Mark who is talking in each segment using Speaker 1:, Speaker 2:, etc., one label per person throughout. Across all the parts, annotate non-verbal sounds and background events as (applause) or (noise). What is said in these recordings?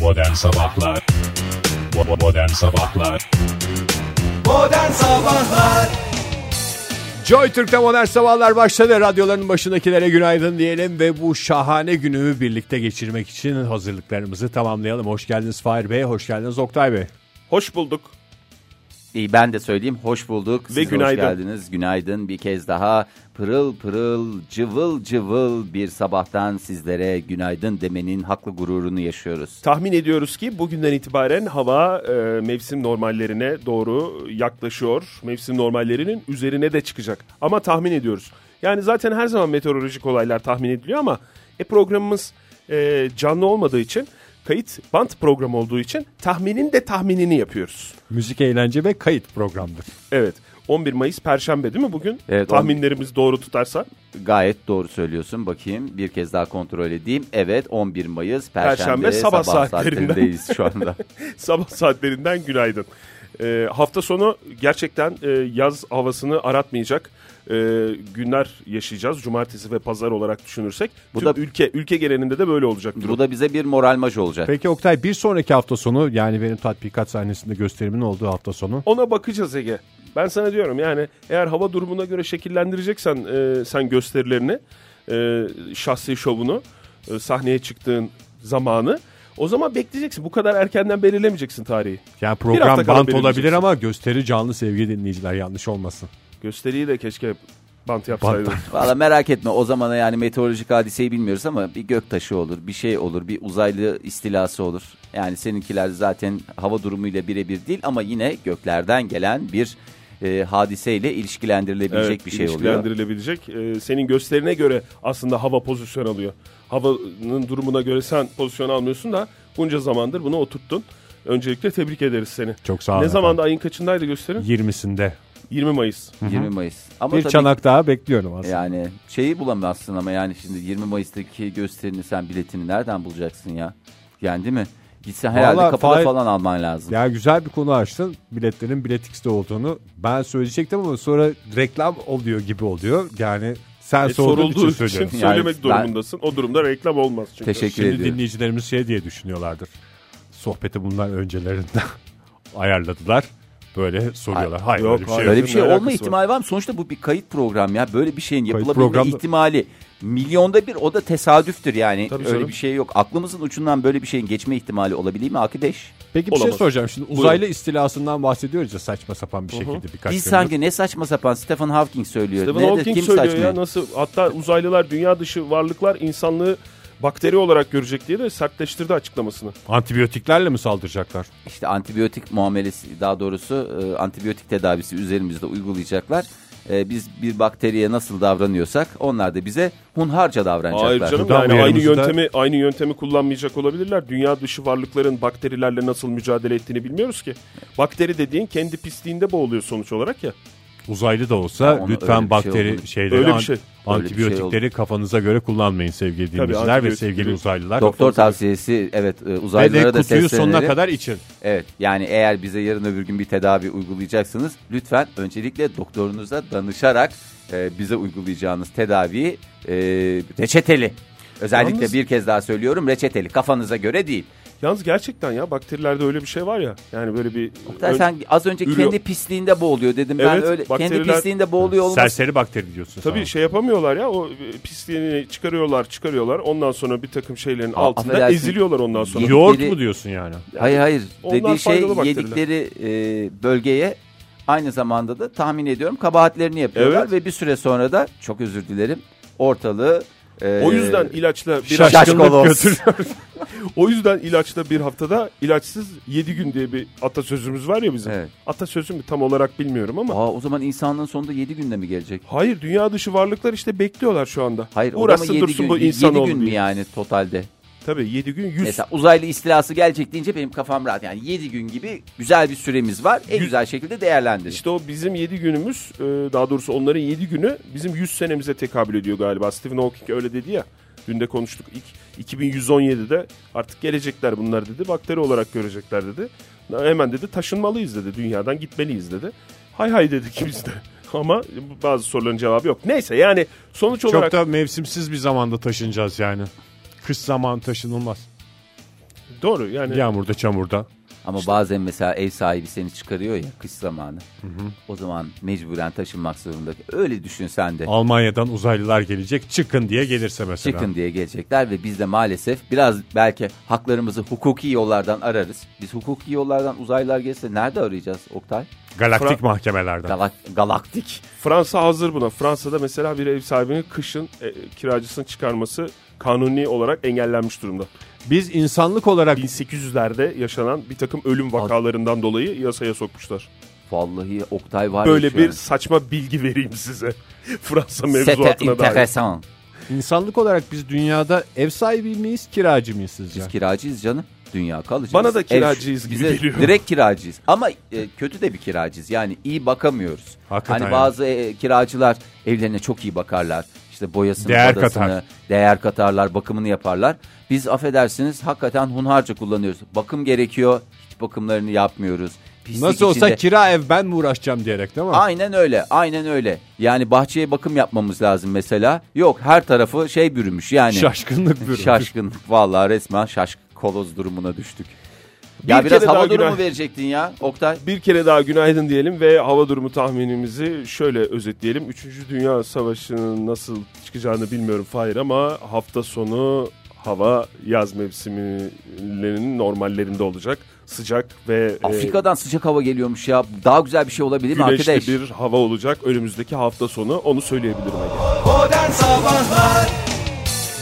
Speaker 1: Modern Sabahlar Bo- Modern Sabahlar
Speaker 2: Modern Sabahlar
Speaker 3: Joy Türk'te modern sabahlar başladı. Radyoların başındakilere günaydın diyelim ve bu şahane günü birlikte geçirmek için hazırlıklarımızı tamamlayalım. Hoş geldiniz Fahir Bey, hoş geldiniz Oktay Bey.
Speaker 4: Hoş bulduk.
Speaker 5: İyi ben de söyleyeyim hoş bulduk. Siz
Speaker 4: Ve
Speaker 5: de
Speaker 4: günaydın.
Speaker 5: Hoş geldiniz. Günaydın bir kez daha pırıl pırıl cıvıl cıvıl bir sabahtan sizlere günaydın demenin haklı gururunu yaşıyoruz.
Speaker 4: Tahmin ediyoruz ki bugünden itibaren hava e, mevsim normallerine doğru yaklaşıyor. Mevsim normallerinin üzerine de çıkacak. Ama tahmin ediyoruz. Yani zaten her zaman meteorolojik olaylar tahmin ediliyor ama e, programımız e, canlı olmadığı için kayıt bant programı olduğu için tahminin de tahminini yapıyoruz.
Speaker 3: Müzik, eğlence ve kayıt programdır.
Speaker 4: Evet. 11 Mayıs Perşembe değil mi bugün?
Speaker 5: Evet,
Speaker 4: Tahminlerimiz doğru tutarsa.
Speaker 5: Gayet doğru söylüyorsun bakayım bir kez daha kontrol edeyim. Evet 11 Mayıs Perşembe,
Speaker 4: Perşembe sabah saatlerinden.
Speaker 5: saatlerindeyiz şu
Speaker 4: (laughs)
Speaker 5: anda.
Speaker 4: Sabah saatlerinden günaydın. Ee, hafta sonu gerçekten e, yaz havasını aratmayacak e, günler yaşayacağız. Cumartesi ve pazar olarak düşünürsek. Bu
Speaker 5: Bu
Speaker 4: da
Speaker 5: da-
Speaker 4: ülke ülke genelinde de böyle olacak durum.
Speaker 5: Bu da bize bir moral maç olacak.
Speaker 3: Peki Oktay bir sonraki hafta sonu yani benim tatbikat sahnesinde gösterimin olduğu hafta sonu.
Speaker 4: Ona bakacağız Ege. Ben sana diyorum yani eğer hava durumuna göre şekillendireceksen e, sen gösterilerini, e, şahsi şovunu, e, sahneye çıktığın zamanı o zaman bekleyeceksin. Bu kadar erkenden belirlemeyeceksin tarihi.
Speaker 3: Yani
Speaker 4: Bir hafta
Speaker 3: program
Speaker 4: kala
Speaker 3: bant olabilir
Speaker 4: belirleyeceksin.
Speaker 3: ama gösteri canlı sevgili dinleyiciler yanlış olmasın.
Speaker 4: Gösteriyi de keşke bant yapsaydın.
Speaker 5: Valla merak etme o zamana yani meteorolojik hadiseyi bilmiyoruz ama bir gök taşı olur, bir şey olur, bir uzaylı istilası olur. Yani seninkiler zaten hava durumuyla birebir değil ama yine göklerden gelen bir e, hadiseyle ilişkilendirilebilecek
Speaker 4: Evet,
Speaker 5: bir şey oluyor.
Speaker 4: ilişkilendirilebilecek. Ee, senin gösterine göre aslında hava pozisyon alıyor. Havanın durumuna göre sen pozisyon almıyorsun da bunca zamandır bunu oturttun. Öncelikle tebrik ederiz seni.
Speaker 3: Çok sağ olun
Speaker 4: Ne
Speaker 3: efendim.
Speaker 4: zamanda ayın kaçındaydı gösterin?
Speaker 3: 20'sinde.
Speaker 4: 20 Mayıs.
Speaker 5: (laughs) 20 Mayıs. Ama
Speaker 3: Bir
Speaker 5: tabii
Speaker 3: çanak daha bekliyorum aslında.
Speaker 5: yani şeyi bulamazsın ama yani şimdi 20 Mayıs'taki gösterini sen biletini nereden bulacaksın ya? Yani değil mi? Gitsen herhalde
Speaker 3: Vallahi
Speaker 5: kapalı
Speaker 3: Fahir-
Speaker 5: falan alman lazım.
Speaker 3: Ya güzel bir konu açtın. Biletlerin Biletix'te olduğunu ben söyleyecektim ama sonra reklam oluyor gibi oluyor. Yani sen
Speaker 4: E,
Speaker 3: sorduğun
Speaker 4: sorulduğu
Speaker 3: için
Speaker 4: için
Speaker 3: söylüyorum.
Speaker 4: söylemek
Speaker 5: Yani ben-
Speaker 4: durumundasın. O durumda reklam olmaz çünkü.
Speaker 5: Teşekkür
Speaker 3: Şimdi
Speaker 5: ediyorum.
Speaker 3: dinleyicilerimiz şey diye düşünüyorlardır. Sohbeti bunlar öncelerinde (laughs) ayarladılar. Böyle soruyorlar. Hayır
Speaker 4: Yok,
Speaker 3: öyle bir şey
Speaker 4: hayır.
Speaker 3: yok.
Speaker 5: Öyle bir şey
Speaker 4: Ne alakası
Speaker 5: olma
Speaker 4: var?
Speaker 5: ihtimali var mı? Sonuçta bu bir kayıt program ya. Böyle bir şeyin yapılabilme
Speaker 3: programda-
Speaker 5: ihtimali milyonda bir o da tesadüftür yani.
Speaker 4: Tabii
Speaker 5: Öyle
Speaker 4: canım.
Speaker 5: bir şey yok. Aklımızın ucundan böyle bir şeyin geçme ihtimali olabilir mi Akideş?
Speaker 3: Peki bir
Speaker 4: Olamaz.
Speaker 3: şey soracağım. Şimdi uzaylı istilasından bahsediyoruz ya saçma sapan bir şekilde birkaç
Speaker 5: Biz
Speaker 3: gündür.
Speaker 5: sanki ne saçma sapan Stephen Hawking söylüyor.
Speaker 4: Stephen
Speaker 5: Nerede,
Speaker 4: Hawking
Speaker 5: kim
Speaker 4: söylüyor
Speaker 5: saçma?
Speaker 4: ya nasıl hatta uzaylılar dünya dışı varlıklar insanlığı bakteri olarak görecek diye de sertleştirdi açıklamasını.
Speaker 3: Antibiyotiklerle mi saldıracaklar?
Speaker 5: İşte antibiyotik muamelesi daha doğrusu e, antibiyotik tedavisi üzerimizde uygulayacaklar. E, biz bir bakteriye nasıl davranıyorsak onlar da bize hunharca davranacaklar.
Speaker 4: Hayır canım
Speaker 3: Buradan
Speaker 4: yani aynı
Speaker 3: uyarımızı da-
Speaker 4: yöntemi aynı yöntemi kullanmayacak olabilirler. Dünya dışı varlıkların bakterilerle nasıl mücadele ettiğini bilmiyoruz ki. Bakteri dediğin kendi pisliğinde boğuluyor sonuç olarak ya.
Speaker 3: Uzaylı da olsa
Speaker 5: Ya ona
Speaker 3: lütfen
Speaker 5: öyle bir şey
Speaker 3: bakteri
Speaker 5: oldu.
Speaker 3: şeyleri
Speaker 4: Öyle bir
Speaker 3: an-
Speaker 4: şey.
Speaker 5: Öyle bir şey
Speaker 3: antibiyotikleri kafanıza göre kullanmayın sevgili dinleyiciler ve
Speaker 4: antibiyotik
Speaker 3: sevgili
Speaker 4: değil.
Speaker 3: uzaylılar.
Speaker 5: Doktor tavsiyesi evet e,
Speaker 3: ve de
Speaker 5: uzaylılara da
Speaker 3: kutuyu sonuna
Speaker 5: seslenelim.
Speaker 3: kadar için.
Speaker 5: Evet yani eğer bize yarın öbür gün bir tedavi uygulayacaksınız lütfen öncelikle doktorunuza danışarak e, bize uygulayacağınız tedaviyi e, reçeteli. Özellikle
Speaker 4: Yalnız-
Speaker 5: bir kez daha söylüyorum reçeteli kafanıza göre değil.
Speaker 4: Yalnız gerçekten ya bakterilerde öyle bir şey var ya. Yani böyle bir
Speaker 5: Zaten sen az önce
Speaker 4: ürüyor.
Speaker 5: kendi pisliğinde boğuluyor dedim ben
Speaker 4: Evet,
Speaker 5: öyle
Speaker 4: bakteriler-
Speaker 5: kendi pisliğinde boğuluyor olmaz.
Speaker 3: Serseri bakteri diyorsun.
Speaker 4: Tabii
Speaker 3: sen.
Speaker 4: şey yapamıyorlar ya o e, pisliğini çıkarıyorlar çıkarıyorlar ondan sonra bir takım şeylerin
Speaker 5: Aa,
Speaker 4: altında
Speaker 5: affedersin.
Speaker 4: eziliyor ondan sonra.
Speaker 5: Yok.
Speaker 3: Yoğurt
Speaker 5: Yedikleri-
Speaker 3: mu diyorsun yani?
Speaker 5: Hayır hayır
Speaker 4: Onlar
Speaker 5: dediği şey
Speaker 4: faydalı bakteriler.
Speaker 5: yedikleri e, bölgeye aynı zamanda da tahmin ediyorum kabahatlerini yapıyorlar
Speaker 4: Evet.
Speaker 5: ve bir süre sonra da çok özür dilerim ortalığı e,
Speaker 4: O yüzden ilaçla bir
Speaker 5: Şaş-
Speaker 3: Şaşkınlık
Speaker 5: Şaşkolos.
Speaker 3: götürüyor.
Speaker 4: (laughs) o yüzden ilaçla bir haftada ilaçsız 7 gün diye bir atasözümüz var ya bizim.
Speaker 5: Evet.
Speaker 4: Atasözü mü tam olarak bilmiyorum ama
Speaker 5: Aa, o zaman insanlığın sonunda 7 günde mi gelecek?
Speaker 4: Hayır dünya dışı varlıklar işte bekliyorlar şu anda.
Speaker 5: Hayır o
Speaker 4: Uğraşsın
Speaker 5: zaman 7
Speaker 4: dursun
Speaker 5: gün,
Speaker 4: bu
Speaker 5: yedi
Speaker 4: insan
Speaker 5: gün mü yani totalde?
Speaker 4: Tabii 7 gün 100.
Speaker 5: Mesela uzaylı istilası gelecek deyince benim kafam rahat. Yani 7 gün gibi güzel bir süremiz var. En
Speaker 4: Yüz-
Speaker 5: güzel şekilde değerlendirin.
Speaker 4: İşte o bizim 7 günümüz e, daha doğrusu onların 7 günü bizim 100 senemize tekabül ediyor galiba. Stephen Hawking öyle dedi ya. Dün de konuştuk. İlk 2117'de artık gelecekler bunlar dedi. Bakteri olarak görecekler dedi. Hemen dedi taşınmalıyız dedi. Dünyadan gitmeliyiz dedi. Hay hay dedik biz de. (laughs) Ama bazı soruların cevabı yok. Neyse yani sonuç olarak
Speaker 3: Çok da mevsimsiz bir zamanda taşınacağız yani. Kış zamanı taşınılmaz.
Speaker 4: Doğru yani
Speaker 3: Yağmurda çamurda.
Speaker 5: Ama bazen mesela ev sahibi seni çıkarıyor ya kış zamanı. O zaman mecburen taşınmak zorunda. Öyle düşün sen de.
Speaker 3: Almanya'dan uzaylılar gelecek çıkın diye gelirse mesela.
Speaker 5: Çıkın diye gelecekler ve biz de maalesef biraz belki haklarımızı hukuki yollardan ararız. Biz hukuki yollardan uzaylılar gelirse nerede arayacağız Oktay?
Speaker 3: Galaktik
Speaker 4: Fra-
Speaker 3: mahkemelerden.
Speaker 5: Galak- galaktik.
Speaker 4: Fransa hazır buna. Fransa'da mesela bir ev sahibinin kışın e, kiracısını çıkarması kanuni olarak engellenmiş durumda.
Speaker 3: Biz insanlık olarak
Speaker 4: 1800'lerde yaşanan bir takım ölüm vakalarından dolayı yasaya sokmuşlar.
Speaker 5: Vallahi Oktay var ya
Speaker 4: Böyle
Speaker 5: şu
Speaker 4: bir
Speaker 5: an.
Speaker 4: saçma bilgi vereyim size. (laughs) Fransa
Speaker 5: Sete
Speaker 4: mevzuatına dair.
Speaker 5: enteresan.
Speaker 3: insanlık olarak biz dünyada ev sahibi miyiz, kiracı mıyız sizce?
Speaker 5: Biz kiracıyız canım. Dünya kalacağız.
Speaker 4: Bana da
Speaker 5: Ev-
Speaker 4: kiracıyız gibi
Speaker 5: bize
Speaker 4: geliyor.
Speaker 5: Direkt kiracıyız. Ama e, kötü de bir kiracıyız. Yani iyi bakamıyoruz.
Speaker 3: Hakikaten
Speaker 5: hani
Speaker 3: ya.
Speaker 5: bazı e, kiracılar evlerine çok iyi bakarlar. İşte boyasını,
Speaker 3: Değer
Speaker 5: badasını,
Speaker 3: katar.
Speaker 5: değer katarlar, bakımını yaparlar. Biz affedersiniz hakikaten hunharca kullanıyoruz. Bakım gerekiyor. Hiç bakımlarını yapmıyoruz. Pislik
Speaker 3: Nasıl olsa
Speaker 5: içinde.
Speaker 3: kira ev ben mi uğraşacağım diyerek değil mi?
Speaker 5: Aynen öyle, aynen öyle. Yani bahçeye bakım yapmamız lazım mesela. Yok her tarafı şey bürümüş yani.
Speaker 3: Şaşkınlık bürümüş.
Speaker 5: Şaşkın. Vallahi resmen şaşk koloz durumuna düştük. ya
Speaker 4: Bir
Speaker 5: biraz
Speaker 4: kere
Speaker 5: hava
Speaker 4: daha
Speaker 5: durumu
Speaker 4: günah-
Speaker 5: verecektin ya Oktay.
Speaker 4: Bir kere daha günaydın diyelim ve hava durumu tahminimizi şöyle özetleyelim. Üçüncü Dünya Savaşı'nın nasıl çıkacağını bilmiyorum Fahir ama hafta sonu hava yaz mevsimlerinin normallerinde olacak. Sıcak ve e,
Speaker 5: Afrika'dan sıcak hava geliyormuş ya. Daha güzel bir şey olabilir mi
Speaker 4: güneşli
Speaker 5: arkadaş?
Speaker 4: bir hava olacak önümüzdeki hafta sonu onu söyleyebilirim. Ege.
Speaker 2: Modern Sabahlar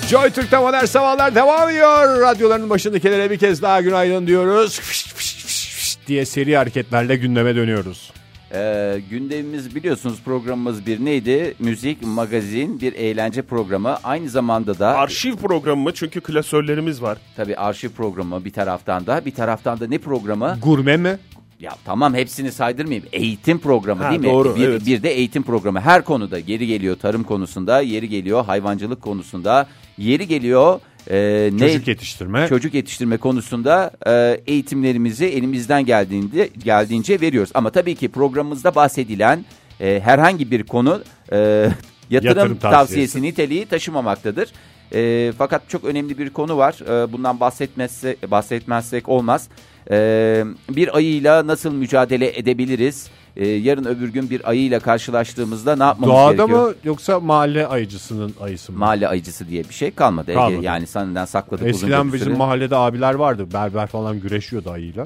Speaker 3: Joy Türk'te modern sabahlar devam ediyor. Radyoların başındakilere bir kez daha günaydın diyoruz. Fış, fış, fış, fış diye seri hareketlerle gündeme dönüyoruz.
Speaker 5: Ee, gündemimiz biliyorsunuz programımız bir neydi? Müzik, magazin, bir eğlence programı. Aynı zamanda da
Speaker 4: Arşiv programı mı? çünkü klasörlerimiz var.
Speaker 5: tabii arşiv programı bir taraftan da bir taraftan da ne programı?
Speaker 3: Gurme mi?
Speaker 5: Ya tamam hepsini saydırmayayım. Eğitim programı
Speaker 4: Ha,
Speaker 5: değil mi?
Speaker 4: doğru,
Speaker 5: bir,
Speaker 4: evet.
Speaker 5: bir de eğitim programı. Her konuda yeri geliyor tarım konusunda, yeri geliyor hayvancılık konusunda, yeri geliyor e, ne
Speaker 3: Çocuk (laughs) yetiştirme.
Speaker 5: çocuk yetiştirme konusunda e, eğitimlerimizi elimizden geldiğinde geldiğince veriyoruz. Ama tabii ki programımızda bahsedilen e, herhangi bir konu e, (laughs) yatırım,
Speaker 3: Yatırım
Speaker 5: tavsiyesi.
Speaker 3: tavsiyesi
Speaker 5: niteliği taşımamaktadır. E, fakat çok önemli bir konu var. E, bundan bahsetmezse, bahsetmezsek olmaz. E, bir ayıyla nasıl mücadele edebiliriz? E, yarın öbür gün bir ayıyla karşılaştığımızda ne yapmamız
Speaker 3: Doğada
Speaker 5: gerekiyor?
Speaker 3: mı yoksa mahalle ayıcısının ayısı mı?
Speaker 5: Mahalle ayıcısı diye bir şey kalmadı. Ege.
Speaker 3: Kalmadı.
Speaker 5: Yani senden sakladık uzunca
Speaker 3: Eskiden
Speaker 5: bir
Speaker 3: bizim
Speaker 5: süre.
Speaker 3: mahallede abiler vardı. Berber falan güreşiyordu ayıyla.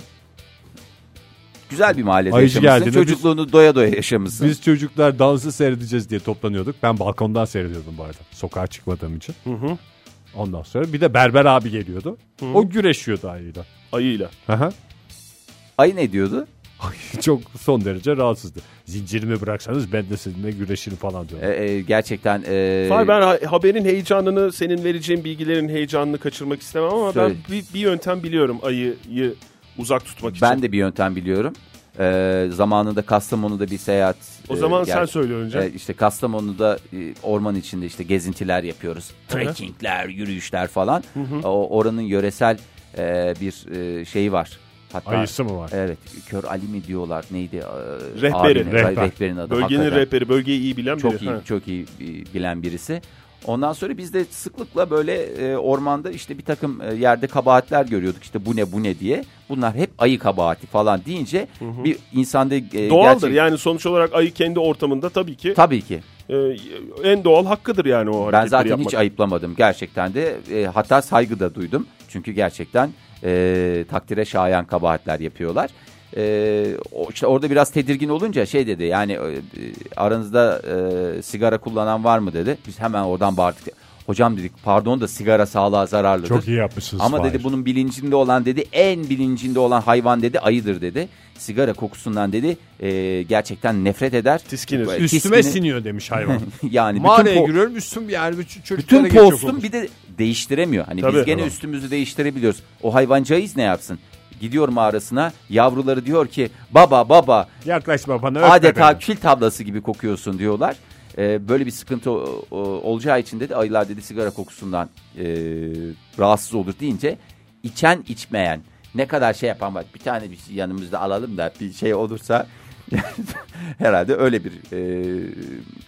Speaker 5: Güzel bir mahallede
Speaker 3: Ayıcı
Speaker 5: yaşamışsın.
Speaker 3: geldiğinde biz-
Speaker 5: Çocukluğunu doya doya yaşamışsın.
Speaker 3: Biz çocuklar dansı seyredeceğiz diye toplanıyorduk. Ben balkondan seyrediyordum bu arada. Sokağa çıkmadığım için. Ondan sonra bir de berber abi geliyordu. O güreşiyordu ayıyla.
Speaker 4: Ayıyla.
Speaker 3: Aha.
Speaker 5: Ayı ne diyordu?
Speaker 3: (laughs) Çok son derece rahatsızdı. Zincirimi bıraksanız ben de sizinle güreşirim falan diyordu.
Speaker 5: Ee, e, gerçekten e,
Speaker 4: Fahir ben ha- haberin heyecanını, senin vereceğin bilgilerin heyecanını kaçırmak istemem ama
Speaker 5: Söyle.
Speaker 4: ben bir, bir yöntem biliyorum ayıyı uzak tutmak için.
Speaker 5: ben de bir yöntem biliyorum. Ee, zamanında Kastamonu'da bir seyahat.
Speaker 4: O
Speaker 5: e,
Speaker 4: zaman
Speaker 5: ger-
Speaker 4: sen söyle önce.
Speaker 5: e, işte Kastamonu'da e, orman içinde işte gezintiler yapıyoruz. Trekkingler, yürüyüşler falan. O oranın yöresel e, bir e, şeyi var. Hatta
Speaker 3: Ayısı mı var?
Speaker 5: Evet. Kör Ali mi diyorlar? Neydi? e,
Speaker 4: Rehberi,
Speaker 5: abinin,
Speaker 3: rehber.
Speaker 5: Rehberin adı.
Speaker 4: Bölgenin
Speaker 5: hakikaten.
Speaker 4: rehberi, bölgeyi iyi bilen
Speaker 5: Çok
Speaker 4: biri.
Speaker 5: iyi,
Speaker 4: Ha.
Speaker 5: çok iyi e, bilen birisi. Ondan sonra biz de sıklıkla böyle e, ormanda işte bir takım e, yerde kabahatler görüyorduk. İşte bu ne bu ne diye. Bunlar hep ayı kabahati falan deyince bir insanda e,
Speaker 4: Doğaldır
Speaker 5: gerçek-
Speaker 4: yani sonuç olarak ayı kendi ortamında tabii ki
Speaker 5: Tabii ki.
Speaker 4: e, en doğal hakkıdır yani o hareketleri
Speaker 5: Ben zaten
Speaker 4: yapmak.
Speaker 5: hiç ayıplamadım gerçekten de. E, hatta saygı da duydum. Çünkü gerçekten e, takdire şayan kabahatler yapıyorlar. E, o- işte orada biraz tedirgin olunca şey dedi yani e, aranızda e, sigara kullanan var mı dedi. Biz hemen oradan bağırdık. Hocam dedik pardon da sigara sağlığa zararlıdır.
Speaker 3: Çok iyi yapmışsınız.
Speaker 5: Ama
Speaker 3: Fahir.
Speaker 5: dedi bunun bilincinde olan dedi en bilincinde olan hayvan dedi ayıdır dedi. Sigara kokusundan dedi e, gerçekten nefret eder. (laughs)
Speaker 4: Tiskinir.
Speaker 5: Bu-
Speaker 3: Üstüme
Speaker 5: tiskini-
Speaker 3: siniyor
Speaker 5: (laughs)
Speaker 3: demiş hayvan.
Speaker 5: Yani bütün
Speaker 3: Mağaraya
Speaker 5: po-
Speaker 3: giriyorum üstüm yani bütün çocuklara
Speaker 5: bütün
Speaker 3: geçiyor
Speaker 5: postum
Speaker 3: kokusu.
Speaker 5: bir de değiştiremiyor. Hani
Speaker 4: Tabii,
Speaker 5: biz gene
Speaker 4: tamam.
Speaker 5: üstümüzü değiştirebiliyoruz. O hayvancağız ne yapsın? Gidiyor mağarasına yavruları diyor ki baba baba
Speaker 3: Yaklaşma bana öpme
Speaker 5: adeta
Speaker 3: beni.
Speaker 5: kil tablası gibi kokuyorsun diyorlar. Ee, böyle bir sıkıntı o- o- olacağı için dedi ayılar dedi sigara kokusundan e, rahatsız olur deyince içen içmeyen ne kadar şey yapan var bir tane bir şey yanımızda alalım da bir şey olursa (laughs) herhalde öyle bir e,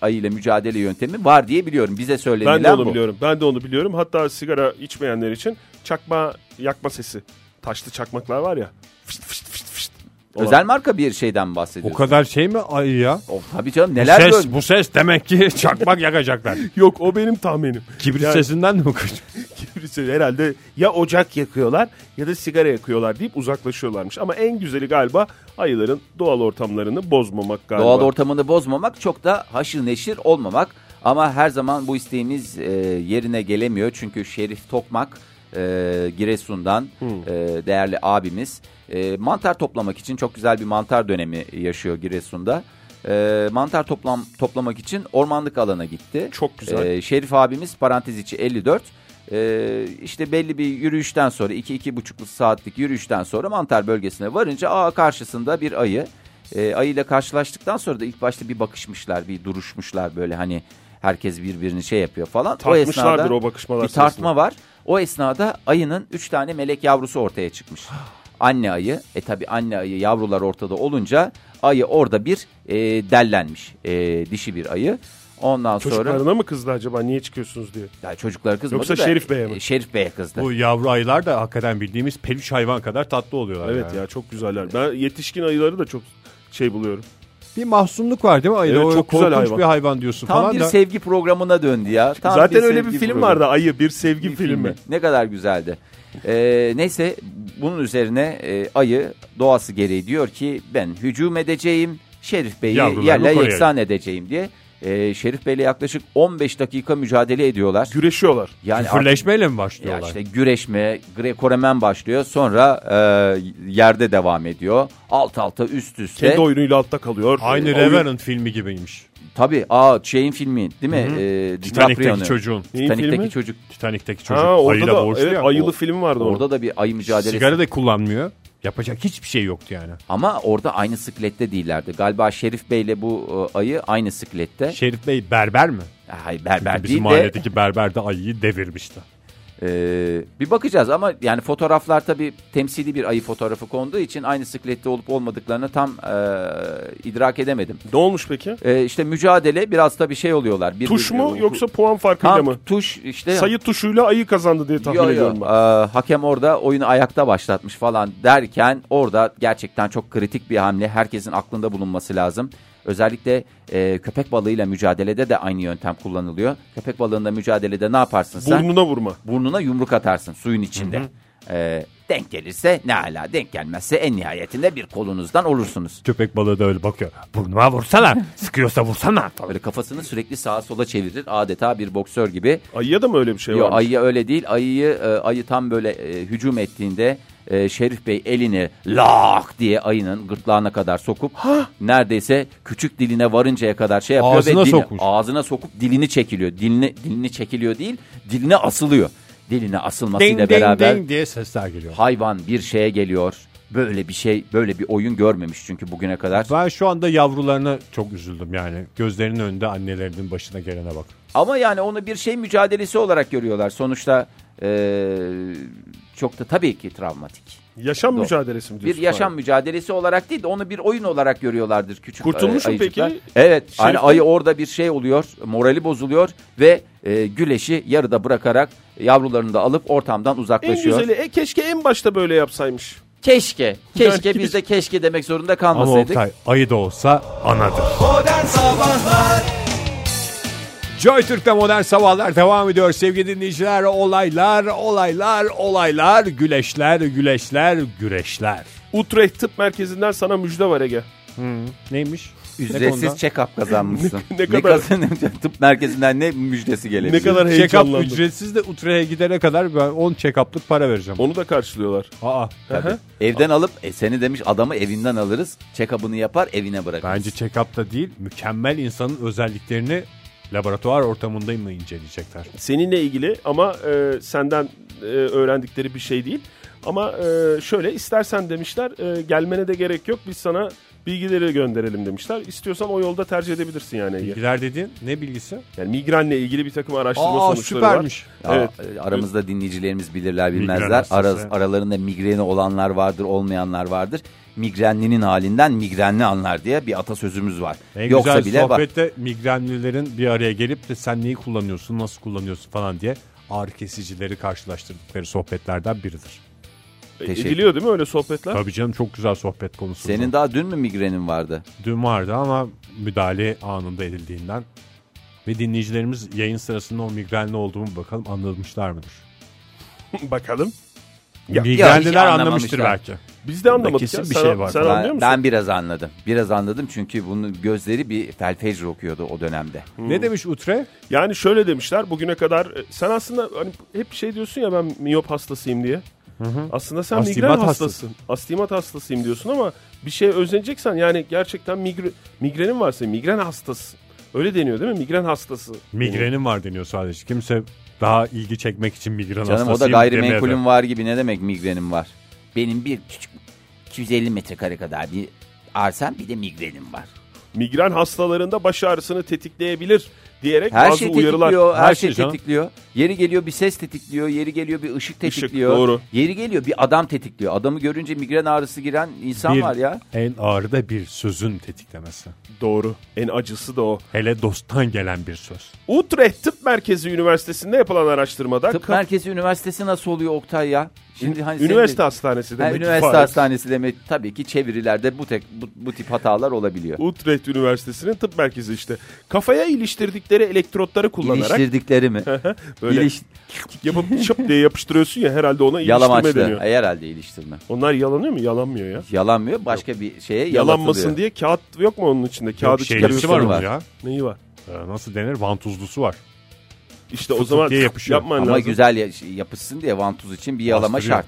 Speaker 5: ayıyla mücadele yöntemi var diye biliyorum bize
Speaker 4: Ben
Speaker 5: söylenilen
Speaker 4: de onu
Speaker 5: bu.
Speaker 4: biliyorum. Ben de onu biliyorum. Hatta sigara içmeyenler için çakma yakma sesi. Taşlı çakmaklar var ya. Fışt fışt fışt fışt. Olan-
Speaker 5: Özel marka bir şeyden
Speaker 3: O
Speaker 5: bahsediyoruz.
Speaker 3: kadar şey mi ay ya?
Speaker 5: Of, tabii canım neler
Speaker 3: ses,
Speaker 5: böyle.
Speaker 3: bu ses demek ki (laughs) çakmak yakacaklar.
Speaker 4: Yok o benim tahminim. (laughs)
Speaker 3: Kibrit
Speaker 4: Yani-
Speaker 3: sesinden de mi kaçıyor?
Speaker 4: Birisi herhalde ya ocak yakıyorlar ya da sigara yakıyorlar deyip uzaklaşıyorlarmış. Ama en güzeli galiba ayıların doğal ortamlarını bozmamak galiba.
Speaker 5: Doğal ortamını bozmamak çok da haşır neşir olmamak. Ama her zaman bu isteğimiz e, yerine gelemiyor. Çünkü Şerif Tokmak e, Giresun'dan e, değerli abimiz e, mantar toplamak için çok güzel bir mantar dönemi yaşıyor Giresun'da. E, mantar toplam toplamak için ormanlık alana gitti.
Speaker 4: Çok güzel.
Speaker 5: Ee, Şerif abimiz parantez içi 54. Ee, işte belli bir yürüyüşten sonra 2-2,5 saatlik yürüyüşten sonra mantar bölgesine varınca aa karşısında bir ayı. Ee, ayıyla karşılaştıktan sonra da ilk başta bir bakışmışlar bir duruşmuşlar böyle hani herkes birbirini şey yapıyor falan.
Speaker 4: Tartmışlardır o bakışmalar
Speaker 5: Bir
Speaker 4: sırasında.
Speaker 5: tartma var. O esnada ayının 3 tane melek yavrusu ortaya çıkmış. Anne ayı. E tabi anne ayı yavrular ortada olunca ayı orada bir e, dellenmiş. E, dişi bir ayı. Ondan sonra
Speaker 4: Çocuklarına mı kızdı acaba niye çıkıyorsunuz diye.
Speaker 5: ya çocuklar kızmadı
Speaker 4: Yoksa
Speaker 5: da,
Speaker 4: Şerif Bey'e mi?
Speaker 5: e, Şerif Bey'e kızdı.
Speaker 3: Bu yavru ayılar da hakikaten bildiğimiz peluş hayvan kadar tatlı oluyorlar.
Speaker 4: Evet
Speaker 3: yani.
Speaker 4: ya çok güzeller. Ben yetişkin ayıları da çok şey buluyorum.
Speaker 3: Bir mahzumluk var değil mi ayıda?
Speaker 4: Evet,
Speaker 3: o
Speaker 4: çok güzel
Speaker 3: korkunç
Speaker 4: hayvan.
Speaker 3: bir hayvan diyorsun
Speaker 5: Tam
Speaker 3: falan
Speaker 5: bir
Speaker 3: da.
Speaker 5: sevgi programına döndü ya. Tam
Speaker 4: Zaten öyle bir
Speaker 5: sevgi
Speaker 4: film
Speaker 5: programı.
Speaker 4: vardı ayı bir sevgi
Speaker 5: Bir
Speaker 4: filmi.
Speaker 5: Ne kadar güzeldi. Ee, neyse bunun üzerine e, ayı doğası gereği diyor ki ben hücum edeceğim. Şerif Bey'i
Speaker 3: Yavrularımı
Speaker 5: yerle
Speaker 3: koruyayım.
Speaker 5: yeksan edeceğim diye. Ee, Şerif Bey'le yaklaşık 15 dakika mücadele ediyorlar.
Speaker 4: Güreşiyorlar.
Speaker 5: Yani artık-
Speaker 3: Fırleşmeyle mi
Speaker 5: Ya
Speaker 3: başlıyorlar?
Speaker 5: işte güreşme, grekoremen başlıyor. Sonra e, yerde devam ediyor. Alt alta üst üste.
Speaker 4: Kendi oyunuyla altta kalıyor.
Speaker 3: Aynı
Speaker 5: e,
Speaker 4: Oyun-
Speaker 3: Revenant filmi gibiymiş.
Speaker 5: Tabii aa şeyin filmi değil mi? Ee, DiCaprio'nun.
Speaker 3: Titanik'teki çocuğun.
Speaker 4: Neyin filmi?
Speaker 5: Titanik'teki çocuk.
Speaker 3: Titanik'teki çocuk.
Speaker 4: Ha, orada
Speaker 3: Ayıyla
Speaker 4: da
Speaker 3: boğuştu
Speaker 4: evet,
Speaker 3: ya.
Speaker 4: ayılı film vardı orada.
Speaker 5: Orada da bir ayı mücadelesi.
Speaker 3: Sigara da kullanmıyor. Yapacak hiçbir şey yoktu yani.
Speaker 5: Ama orada aynı sıklette değillerdi. Galiba Şerif Bey'le bu e, ayı aynı sıklette.
Speaker 3: Şerif Bey berber mi?
Speaker 5: Hayır berber
Speaker 3: Bizim
Speaker 5: değil de
Speaker 3: mahalledeki berber de ayıyı devirmişti.
Speaker 5: e, bir bakacağız ama yani fotoğraflar tabii temsili bir ayı fotoğrafı konduğu için aynı sıklette olup olmadıklarını tam e, idrak edemedim.
Speaker 4: Ne olmuş peki?
Speaker 5: E, işte mücadele biraz da bir şey oluyorlar. Bir,
Speaker 4: Tuş mu
Speaker 5: bir-
Speaker 4: yoksa puan farkıyla
Speaker 5: Ha,
Speaker 4: mı?
Speaker 5: Tuş işte.
Speaker 4: Sayı tuşuyla ayı kazandı diye tahmin
Speaker 5: Yo, yo.
Speaker 4: ediyorum ben.
Speaker 5: Ee, hakem orada oyunu ayakta başlatmış falan derken orada gerçekten çok kritik bir hamle herkesin aklında bulunması lazım. Özellikle e, köpek balığıyla mücadelede de aynı yöntem kullanılıyor. Köpek balığında mücadelede ne yaparsın sen?
Speaker 4: Burnuna vurma.
Speaker 5: Burnuna yumruk atarsın suyun içinde. Ee, denk gelirse ne ala denk gelmezse en nihayetinde bir kolunuzdan olursunuz.
Speaker 3: Köpek balığı da öyle bakıyor. Burnuma vursana. (laughs) Sıkıyorsa vursana. Falan.
Speaker 5: Böyle kafasını sürekli sağa sola çevirir adeta bir boksör gibi.
Speaker 4: Ayıya da mı öyle bir şey
Speaker 5: Yok
Speaker 4: var?
Speaker 5: ayıya öyle değil. Ayıyı e, ayı tam böyle e, hücum ettiğinde e, Şerif Bey elini lak diye ayının gırtlağına kadar sokup neredeyse küçük diline varıncaya kadar şey yapıyor
Speaker 3: Ağzına
Speaker 5: ve dili-
Speaker 3: sokmuş.
Speaker 5: ağzına sokup dilini çekiliyor. Dilini dilini çekiliyor değil, diline asılıyor. Diline asılmasıyla
Speaker 3: Ding ding
Speaker 5: beraber
Speaker 3: ding diye sesler geliyor.
Speaker 5: hayvan bir şeye geliyor. Böyle bir şey, böyle bir oyun görmemiş çünkü bugüne kadar.
Speaker 3: Ben şu anda yavrularına çok üzüldüm yani. Gözlerinin önünde annelerinin başına gelene bak.
Speaker 5: Ama yani onu bir şey mücadelesi olarak görüyorlar. Sonuçta e, çok da tabii ki travmatik.
Speaker 4: Yaşam
Speaker 5: Doğru.
Speaker 4: mücadelesi mi
Speaker 5: bir
Speaker 4: diyorsun?
Speaker 5: yaşam
Speaker 4: Hayır.
Speaker 5: mücadelesi olarak değil de onu bir oyun olarak görüyorlardır küçük
Speaker 4: Kurtulmuş
Speaker 5: e,
Speaker 4: mu peki? Şey
Speaker 5: ayıcıklar. Evet.
Speaker 4: Şerif
Speaker 5: Hani
Speaker 4: Bey-
Speaker 5: ayı orada bir şey oluyor. Morali bozuluyor ve e, güleşi yarıda bırakarak yavrularını da alıp ortamdan
Speaker 4: En
Speaker 5: uzaklaşıyor.
Speaker 4: güzeli e, keşke en başta böyle yapsaymış.
Speaker 5: Keşke. Keşke
Speaker 4: Yani-
Speaker 5: biz de keşke demek zorunda
Speaker 3: Ama
Speaker 5: kalmasaydık.
Speaker 3: Oktay ayı da olsa anadır.
Speaker 2: Modern Sabahlar
Speaker 3: Joy Türk'te modern sabahlar devam ediyor sevgili dinleyiciler. Olaylar, olaylar, olaylar, güleşler, güleşler, güreşler.
Speaker 4: Utrecht Tıp Merkezi'nden sana müjde var Ege.
Speaker 3: Neymiş?
Speaker 5: Ücretsiz check-up kazanmışsın.
Speaker 4: (laughs) Ne- ne kadar-
Speaker 5: kazan- (laughs) tıp merkezinden ne müjdesi gelebilir?
Speaker 4: Ne kadar
Speaker 3: Check-up
Speaker 4: heyecanlandım.
Speaker 3: ücretsiz de Utrecht'e gidene kadar ben 10 check-up'lık para vereceğim.
Speaker 4: Onu da karşılıyorlar.
Speaker 3: Aa,
Speaker 5: Tabii. Evden alıp e, seni demiş adamı evinden alırız. Check-up'ını yapar evine bırakırız.
Speaker 3: bence check-up da değil, mükemmel insanın özelliklerini laboratuvar ortamında mı inceleyecekler?
Speaker 4: Seninle ilgili ama e, senden e, öğrendikleri bir şey değil. Ama e, şöyle istersen demişler e, gelmene de gerek yok biz sana bilgileri gönderelim demişler. İstiyorsan o yolda tercih edebilirsin yani Ege.
Speaker 3: Bilgiler dediğin ne bilgisi?
Speaker 4: Yani migrenle ilgili bir takım araştırma
Speaker 3: Aa
Speaker 4: sonuçları var.
Speaker 3: süpermiş.
Speaker 5: Ya,
Speaker 4: Evet.
Speaker 5: e, Aramızda dinleyicilerimiz bilirler
Speaker 3: Migren
Speaker 5: bilmezler.
Speaker 3: hastası.
Speaker 5: Ara, aralarında migreni olanlar vardır olmayanlar vardır. Migrenlinin halinden migrenli anlar diye bir atasözümüz var.
Speaker 3: En
Speaker 5: Yoksa
Speaker 3: güzel
Speaker 5: bile bak
Speaker 3: sohbette migrenlilerin bir araya gelip de sen neyi kullanıyorsun, nasıl kullanıyorsun falan diye ağır kesicileri karşılaştırdıkları sohbetlerden biridir.
Speaker 5: Teşekkür.
Speaker 4: Ediliyor E, değil mi öyle sohbetler?
Speaker 3: Tabii canım çok güzel sohbet konusu.
Speaker 5: Senin daha dün mü migrenin vardı?
Speaker 3: dün vardı ama müdahale anında edildiğinden ve dinleyicilerimiz yayın sırasında o migrenli olduğumu bakalım anlamışlar mıdır?
Speaker 4: (laughs) Bakalım. Ya-
Speaker 3: Migrenliler
Speaker 5: Ya hiç
Speaker 3: anlamıştır
Speaker 5: anlamamışlar.
Speaker 3: belki.
Speaker 4: Biz de anlamadık
Speaker 3: Kesin
Speaker 4: ya.
Speaker 3: bir
Speaker 4: sen,
Speaker 3: şey var.
Speaker 4: Sen
Speaker 3: Ben-
Speaker 4: anlıyor
Speaker 5: Ben,
Speaker 4: musun?
Speaker 5: ben biraz anladım. Biraz anladım çünkü bunun gözleri bir felfecr okuyordu o dönemde.
Speaker 4: Hmm.
Speaker 3: Ne demiş Utre?
Speaker 4: Yani şöyle demişler bugüne kadar e, sen aslında hani hep şey diyorsun ya ben miyop hastasıyım diye. Aslında sen
Speaker 3: Astimat
Speaker 4: migren
Speaker 3: hastası.
Speaker 4: hastasın. Astimat hastasıyım diyorsun ama bir şeye özeneceksen yani gerçekten migre, migrenin varsa migren hastasın. Öyle deniyor değil mi? Migren hastası.
Speaker 3: Migrenim var deniyor sadece. Kimse daha ilgi çekmek için migren
Speaker 5: Canım o da
Speaker 3: hastasıyım demedi.
Speaker 5: gayrimenkulüm var gibi ne demek migrenim var? Benim bir küçük 250 metrekare kadar bir arsam bir de migrenim var.
Speaker 4: Migren hastalarında baş ağrısını tetikleyebilir diyerek
Speaker 5: Her
Speaker 4: bazı
Speaker 5: şey
Speaker 4: uyarılar.
Speaker 5: tetikliyor, her,
Speaker 3: Her
Speaker 5: şey,
Speaker 3: şey canım.
Speaker 5: tetikliyor. Yeri geliyor bir ses tetikliyor, yeri geliyor bir ışık tetikliyor.
Speaker 4: doğru.
Speaker 5: Yeri geliyor bir adam tetikliyor. Adamı görünce migren ağrısı giren insan
Speaker 3: Bir-
Speaker 5: var ya.
Speaker 3: En ağırı da bir sözün tetiklemesi.
Speaker 4: Doğru. En acısı da o.
Speaker 3: Hele dosttan gelen bir söz.
Speaker 4: Utrecht Tıp Merkezi Üniversitesi'nde yapılan araştırmada
Speaker 5: Tıp
Speaker 4: ka-
Speaker 5: Merkezi Üniversitesi nasıl oluyor Oktay ya? Şimdi hani senin de-
Speaker 4: üniversite hastanesi demek.
Speaker 5: Ha,
Speaker 4: ki
Speaker 5: üniversite
Speaker 4: Fahir.
Speaker 5: hastanesi demek tabii ki çevirilerde bu tek bu, bu tip hatalar olabiliyor.
Speaker 4: Utrecht Üniversitesi'nin tıp merkezi işte. Kafaya iliştirdikleri elektrotları kullanarak
Speaker 5: İliştirdikleri
Speaker 4: (laughs)
Speaker 5: mi?
Speaker 4: böyle
Speaker 5: İliş-
Speaker 4: yapıp çıp diye yapıştırıyorsun ya herhalde ona iliştirme
Speaker 5: Yalamaçlı.
Speaker 4: deniyor.
Speaker 5: Herhalde iliştirme.
Speaker 4: Onlar yalanıyor mu? Yalanmıyor ya.
Speaker 5: Yalanmıyor. Başka bir şeye
Speaker 4: Yalanmasın
Speaker 5: yalanmasın diye.
Speaker 4: diye kağıt yok mu onun içinde? Kağıdı
Speaker 3: Yok, şeylisi
Speaker 4: çıkarıyorsun.
Speaker 3: var onun
Speaker 5: var.
Speaker 3: ya.
Speaker 4: Neyi var?
Speaker 3: Ee, Nasıl denir? Vantuzlusu var.
Speaker 4: İşte o
Speaker 3: Fıtık
Speaker 4: zaman
Speaker 3: diye yapışıyor.
Speaker 4: yapman
Speaker 5: Ama
Speaker 4: lazım.
Speaker 5: güzel ya- şey yapışsın diye vantuz için bir yalama
Speaker 3: Bastırıyor.
Speaker 5: şart.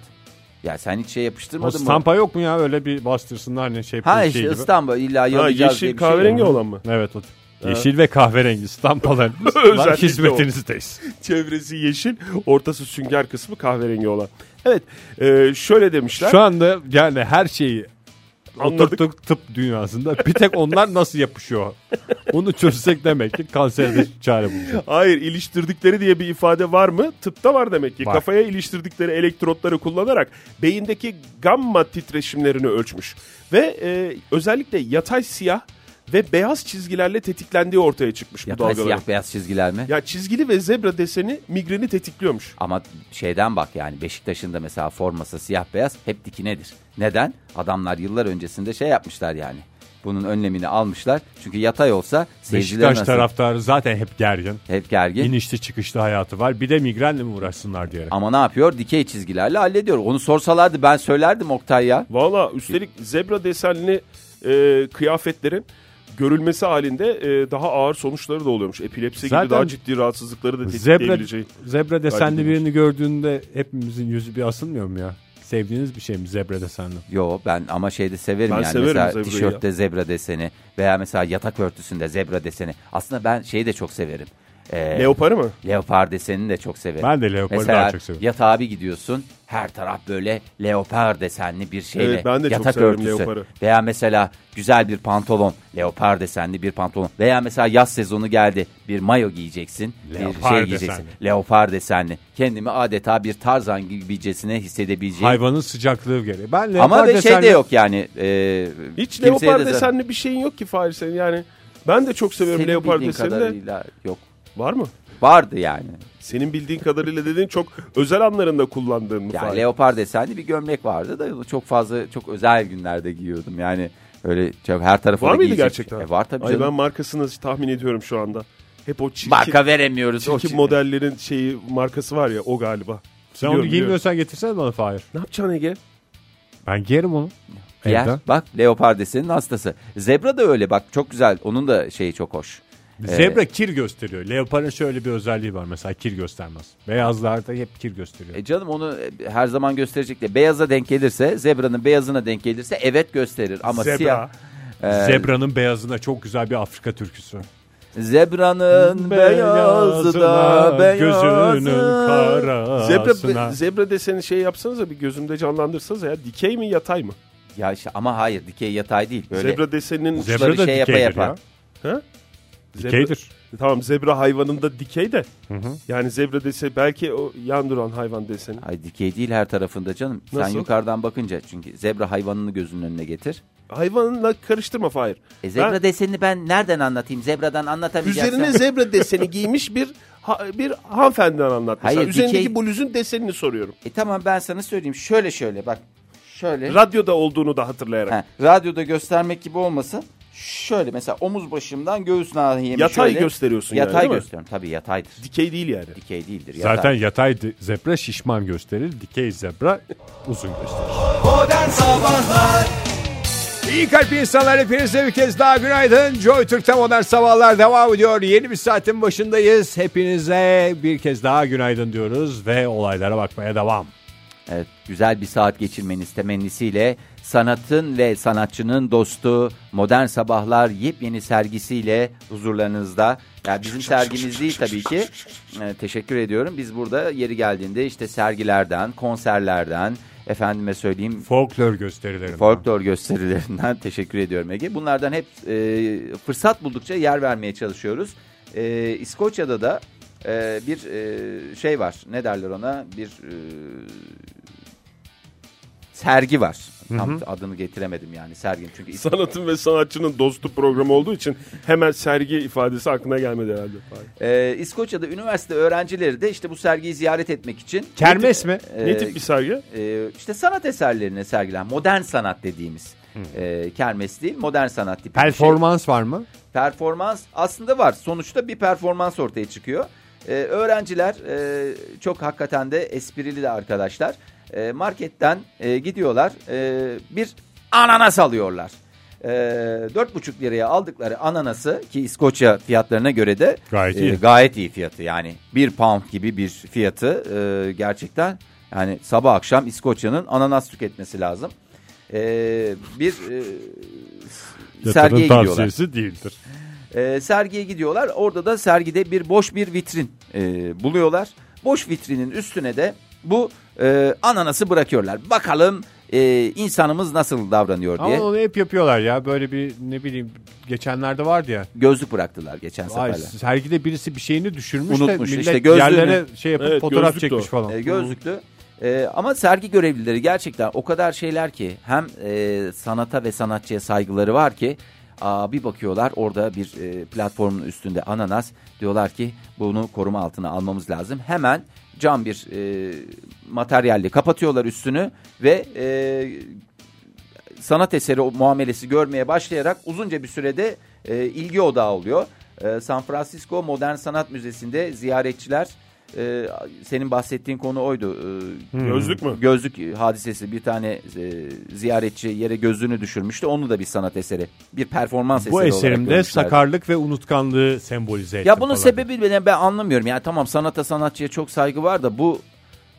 Speaker 5: Ya sen hiç şey
Speaker 3: O
Speaker 5: yapıştırmadın mı?
Speaker 3: stampa yok mu ya? Öyle bir bastırsınlar ne şey,
Speaker 5: Ha
Speaker 3: şey
Speaker 5: işte
Speaker 3: gibi.
Speaker 5: İstanbul illa
Speaker 4: Ha,
Speaker 5: yalayacağız diye
Speaker 4: yeşil
Speaker 5: bir şey yok.
Speaker 4: kahverengi olan mı?
Speaker 3: Evet o. Yeşil ve kahverengi
Speaker 4: (laughs)
Speaker 3: stampalarımız var.
Speaker 4: Özellikle
Speaker 3: Hizmetinizdeyiz.
Speaker 4: (laughs) Çevresi yeşil, ortası sünger kısmı kahverengi olan. Evet, e, şöyle demişler.
Speaker 3: Şu anda yani her şeyi
Speaker 4: Anladık.
Speaker 3: oturttuk tıp dünyasında. Bir tek onlar nasıl yapışıyor? Onu çözsek demek ki kanserde çare bulacağız.
Speaker 4: Hayır iliştirdikleri diye bir ifade var mı? Tıpta var demek ki.
Speaker 3: Var.
Speaker 4: Kafaya iliştirdikleri elektrotları kullanarak beyindeki gamma titreşimlerini ölçmüş. Ve e, özellikle yatay siyah ve beyaz çizgilerle tetiklendiği ortaya çıkmış bu
Speaker 5: Yapay
Speaker 4: dalgaların.
Speaker 5: siyah beyaz çizgiler mi?
Speaker 4: Ya çizgili ve zebra deseni migreni tetikliyormuş.
Speaker 5: Ama şeyden bak yani Beşiktaş'ın da mesela forması siyah beyaz hep dikinedir. Neden? Adamlar yıllar öncesinde şey yapmışlar yani. Bunun önlemini almışlar. Çünkü yatay olsa seyirciler
Speaker 3: Beşiktaş
Speaker 5: nasıl
Speaker 3: taraftarı zaten hep gergin.
Speaker 5: hep gergin.
Speaker 3: İnişli çıkışlı hayatı var. Bir de migrenle mi uğraşsınlar diyerek.
Speaker 5: Ama ne yapıyor? Dikey çizgilerle hallediyor. Onu sorsalardı ben söylerdim Oktay ya.
Speaker 4: Valla üstelik zebra desenli e, kıyafetlerin görülmesi halinde e, daha ağır sonuçları da oluyormuş. Epilepsi
Speaker 3: Zaten
Speaker 4: gibi daha ciddi rahatsızlıkları da
Speaker 3: Zebra,
Speaker 4: tetikleyebileceği.
Speaker 3: zebra desenli
Speaker 4: Belki de-
Speaker 3: birini gördüğünde hepimizin yüzü bir asılmıyor mu ya? Sevdiğiniz bir şey mi zebra desenli?
Speaker 5: Yo ben ama şeyde severim
Speaker 4: Ben
Speaker 5: yani
Speaker 4: severim
Speaker 5: mesela
Speaker 4: zebrayı
Speaker 5: tişörtte zebra deseni veya mesela yatak örtüsünde zebra deseni. Aslında ben şeyi de çok severim. Ee,
Speaker 4: Leoparı mı?
Speaker 5: leopar desenini de çok severim.
Speaker 3: Ben de leoparı
Speaker 5: mesela,
Speaker 3: daha çok severim.
Speaker 5: yatağa bir gidiyorsun her taraf böyle leopar desenli bir şeyle
Speaker 4: Evet, ben de çok
Speaker 5: yatak
Speaker 4: severim
Speaker 5: örtüsü.
Speaker 4: leoparı.
Speaker 5: Veya mesela güzel bir pantolon leopar desenli bir pantolon. Veya mesela yaz sezonu geldi bir mayo giyeceksin bir
Speaker 3: Leopar
Speaker 5: şey giyeceksin.
Speaker 3: desenli.
Speaker 5: Leopar desenli. Kendimi adeta bir tarzan gibicesine hissedebileceğim.
Speaker 3: Hayvanın sıcaklığı gereği. Ben
Speaker 5: Ama
Speaker 3: leopar
Speaker 5: ve şey de
Speaker 3: desenli-
Speaker 5: yok yani. E,
Speaker 4: Hiç
Speaker 5: kimseye de-
Speaker 4: leopar desenli bir şeyin yok ki Fahir senin yani. Ben de çok seviyorum
Speaker 5: Senin
Speaker 4: leopar
Speaker 5: bildiğin
Speaker 4: desenini. de.
Speaker 5: kadarıyla yok.
Speaker 4: Var mı?
Speaker 5: Vardı yani.
Speaker 4: Senin bildiğin kadarıyla dediğin çok özel anlarında kullandığın mı
Speaker 5: Yani
Speaker 4: Fahir?
Speaker 5: leopar desenli bir gömlek vardı da çok fazla çok özel günlerde giyiyordum. Yani öyle çok her tarafa
Speaker 4: var
Speaker 5: da
Speaker 4: mıydı
Speaker 5: giyecek-
Speaker 4: gerçekten?
Speaker 5: E, var tabii
Speaker 4: Ay ben
Speaker 5: canım.
Speaker 4: markasını tahmin ediyorum şu anda. Hep o çirkin,
Speaker 5: Marka veremiyoruz. o
Speaker 4: çirkin
Speaker 5: çirkin.
Speaker 4: modellerin şeyi markası var ya o galiba.
Speaker 3: Sen
Speaker 4: Biliyorum,
Speaker 3: onu
Speaker 4: biliyorum.
Speaker 3: giymiyorsan getirsene bana Fahir.
Speaker 4: Ne yapacaksın Ege?
Speaker 3: Ben giyerim onu.
Speaker 5: Yer.
Speaker 3: Evden.
Speaker 5: Bak leopar deseninin hastası. Zebra da öyle bak çok güzel. Onun da şeyi çok hoş.
Speaker 3: Zebra kir gösteriyor. Leoparın şöyle bir özelliği var mesela kir göstermez. Beyazlarda hep kir gösteriyor.
Speaker 5: E canım onu e, her zaman gösterecek de beyaza denk gelirse zebranın beyazına denk gelirse evet gösterir ama
Speaker 4: Zebra.
Speaker 5: siyah e,
Speaker 3: Zebra'nın beyazına çok güzel bir Afrika türküsü.
Speaker 5: Zebranın beyazı da beyazı.
Speaker 3: gözünün
Speaker 4: Zebra,
Speaker 3: karasına.
Speaker 4: zebra deseni şey yapsanıza bir gözümde canlandırsanız ya dikey mi yatay mı?
Speaker 5: Ya işte ama hayır dikey yatay değil. Böyle
Speaker 4: Zebra
Speaker 5: Zeb-
Speaker 4: deseninin
Speaker 5: uçları
Speaker 3: Zebra da
Speaker 5: şey yapa
Speaker 3: dikeydir
Speaker 5: yapa.
Speaker 3: ya.
Speaker 4: Zebra-
Speaker 3: Dikeydir.
Speaker 4: Tamam zebra hayvanında dikey de. Yani zebra deseni belki o yan duran hayvan deseni.
Speaker 5: Ay dikey değil her tarafında canım.
Speaker 4: Nasıl?
Speaker 5: Sen yukarıdan bakınca çünkü zebra hayvanını gözünün önüne getir.
Speaker 4: Hayvanla karıştırma Fahir.
Speaker 5: E zebra
Speaker 4: Ben-
Speaker 5: desenini ben nereden anlatayım? Zebradan anlatamayacağım.
Speaker 4: Üzerine zebra deseni giymiş bir ha- bir hanımefendiden anlatmışlar.
Speaker 5: Hayır,
Speaker 4: Üzerindeki
Speaker 5: dikey-
Speaker 4: bluzun desenini soruyorum.
Speaker 5: E tamam ben sana söyleyeyim. Şöyle şöyle bak. Şöyle.
Speaker 4: Radyoda olduğunu da hatırlayarak.
Speaker 5: Ha, radyoda göstermek gibi olmasa şöyle mesela omuz başımdan göğüs nahiyemi
Speaker 4: Yatay
Speaker 5: şöyle.
Speaker 4: gösteriyorsun yani,
Speaker 5: yatay
Speaker 4: değil mi?
Speaker 5: gösteriyorum. Tabii yataydır.
Speaker 4: Dikey değil yani.
Speaker 5: Dikey değildir. Yatay.
Speaker 3: Zaten yatay de- zebra şişman gösterir, dikey zebra uzun gösterir.
Speaker 2: Modern Sabahlar
Speaker 3: İyi kalp insanlar hepinize bir kez daha günaydın. Joy Türk'te modern sabahlar devam ediyor. Yeni bir saatin başındayız. Hepinize bir kez daha günaydın diyoruz ve olaylara bakmaya devam.
Speaker 5: Evet, güzel bir saat geçirmeniz temennisiyle sanatın ve sanatçının dostu Modern Sabahlar yepyeni sergisiyle huzurlarınızda. Yani bizim sergimiz değil tabii ki. Ee, teşekkür ediyorum. Biz burada yeri geldiğinde işte sergilerden, konserlerden, efendime söyleyeyim
Speaker 3: Folklor gösterileri.
Speaker 5: folklor gösterilerinden (laughs) teşekkür ediyorum Ege. Bunlardan hep e, fırsat buldukça yer vermeye çalışıyoruz. E, İskoçya'da da e, bir e, şey var. Ne derler ona? Bir e, sergi var. Tam adını getiremedim yani sergin çünkü is-
Speaker 4: Sanatın ve sanatçının dostu programı olduğu için hemen sergi ifadesi aklına gelmedi herhalde.
Speaker 5: E, İskoçya'da üniversite öğrencileri de işte bu sergiyi ziyaret etmek için
Speaker 3: Kermes mi?
Speaker 4: ne
Speaker 5: e,
Speaker 4: tip bir sergi?
Speaker 5: e, işte sanat eserlerine sergilen modern sanat dediğimiz e, kermes değil modern sanat tipi bir şey.
Speaker 3: Performans var mı?
Speaker 5: Performans aslında var. Sonuçta bir performans ortaya çıkıyor. Ee, öğrenciler e, çok hakikaten de esprili de arkadaşlar. E, marketten e, gidiyorlar e, bir ananas alıyorlar. E, 4,5 liraya aldıkları ananası ki İskoçya fiyatlarına göre de
Speaker 3: Gayet
Speaker 5: e,
Speaker 3: iyi.
Speaker 5: gayet iyi fiyatı yani. Bir pound gibi bir fiyatı e, gerçekten yani sabah akşam İskoçya'nın ananas tüketmesi lazım. E, bir e, sergiye gidiyorlar.
Speaker 3: değildir.
Speaker 5: E, sergiye gidiyorlar. Orada da sergide bir boş bir vitrin e, buluyorlar. Boş vitrinin üstüne de bu e, ananası bırakıyorlar. Bakalım e, insanımız nasıl davranıyor diye
Speaker 3: Ama onu hep yapıyorlar ya. Böyle bir ne bileyim geçenlerde vardı ya.
Speaker 5: gözlük bıraktılar geçen
Speaker 3: Ay,
Speaker 5: seferler.
Speaker 3: sergide birisi bir şeyini düşürmüş
Speaker 5: Unutmuş.
Speaker 3: de millet
Speaker 5: İşte gözlüğünü-
Speaker 3: yerlere şey yapıp
Speaker 4: Evet,
Speaker 3: fotoğraf
Speaker 4: gözlük de
Speaker 3: çekmiş
Speaker 4: o.
Speaker 3: falan.
Speaker 5: E, gözlüklü. E, ama sergi görevlileri gerçekten o kadar şeyler ki hem e, sanata ve sanatçıya saygıları var ki aa, bir bakıyorlar orada bir e, platformun üstünde ananas diyorlar ki bunu koruma altına almamız lazım. Hemen cam bir e, materyalle kapatıyorlar üstünü ve e, sanat eseri o muamelesi görmeye başlayarak uzunca bir sürede e, ilgi odağı oluyor. E, San Francisco Modern Sanat Müzesi'nde ziyaretçiler e, senin bahsettiğin konu oydu. E,
Speaker 4: Gözlük mü?
Speaker 5: Gözlük hadisesi bir tane e, ziyaretçi yere gözlüğünü düşürmüştü. Onu da bir sanat eseri, bir performans eseri
Speaker 3: Bu
Speaker 5: olarak
Speaker 3: eserimde
Speaker 5: görmüşlerdi.
Speaker 3: sakarlık ve unutkanlığı sembolize ettim
Speaker 5: Ya bunun
Speaker 3: falan.
Speaker 5: sebebi ben, ben anlamıyorum. Yani tamam sanata sanatçıya çok saygı var da bu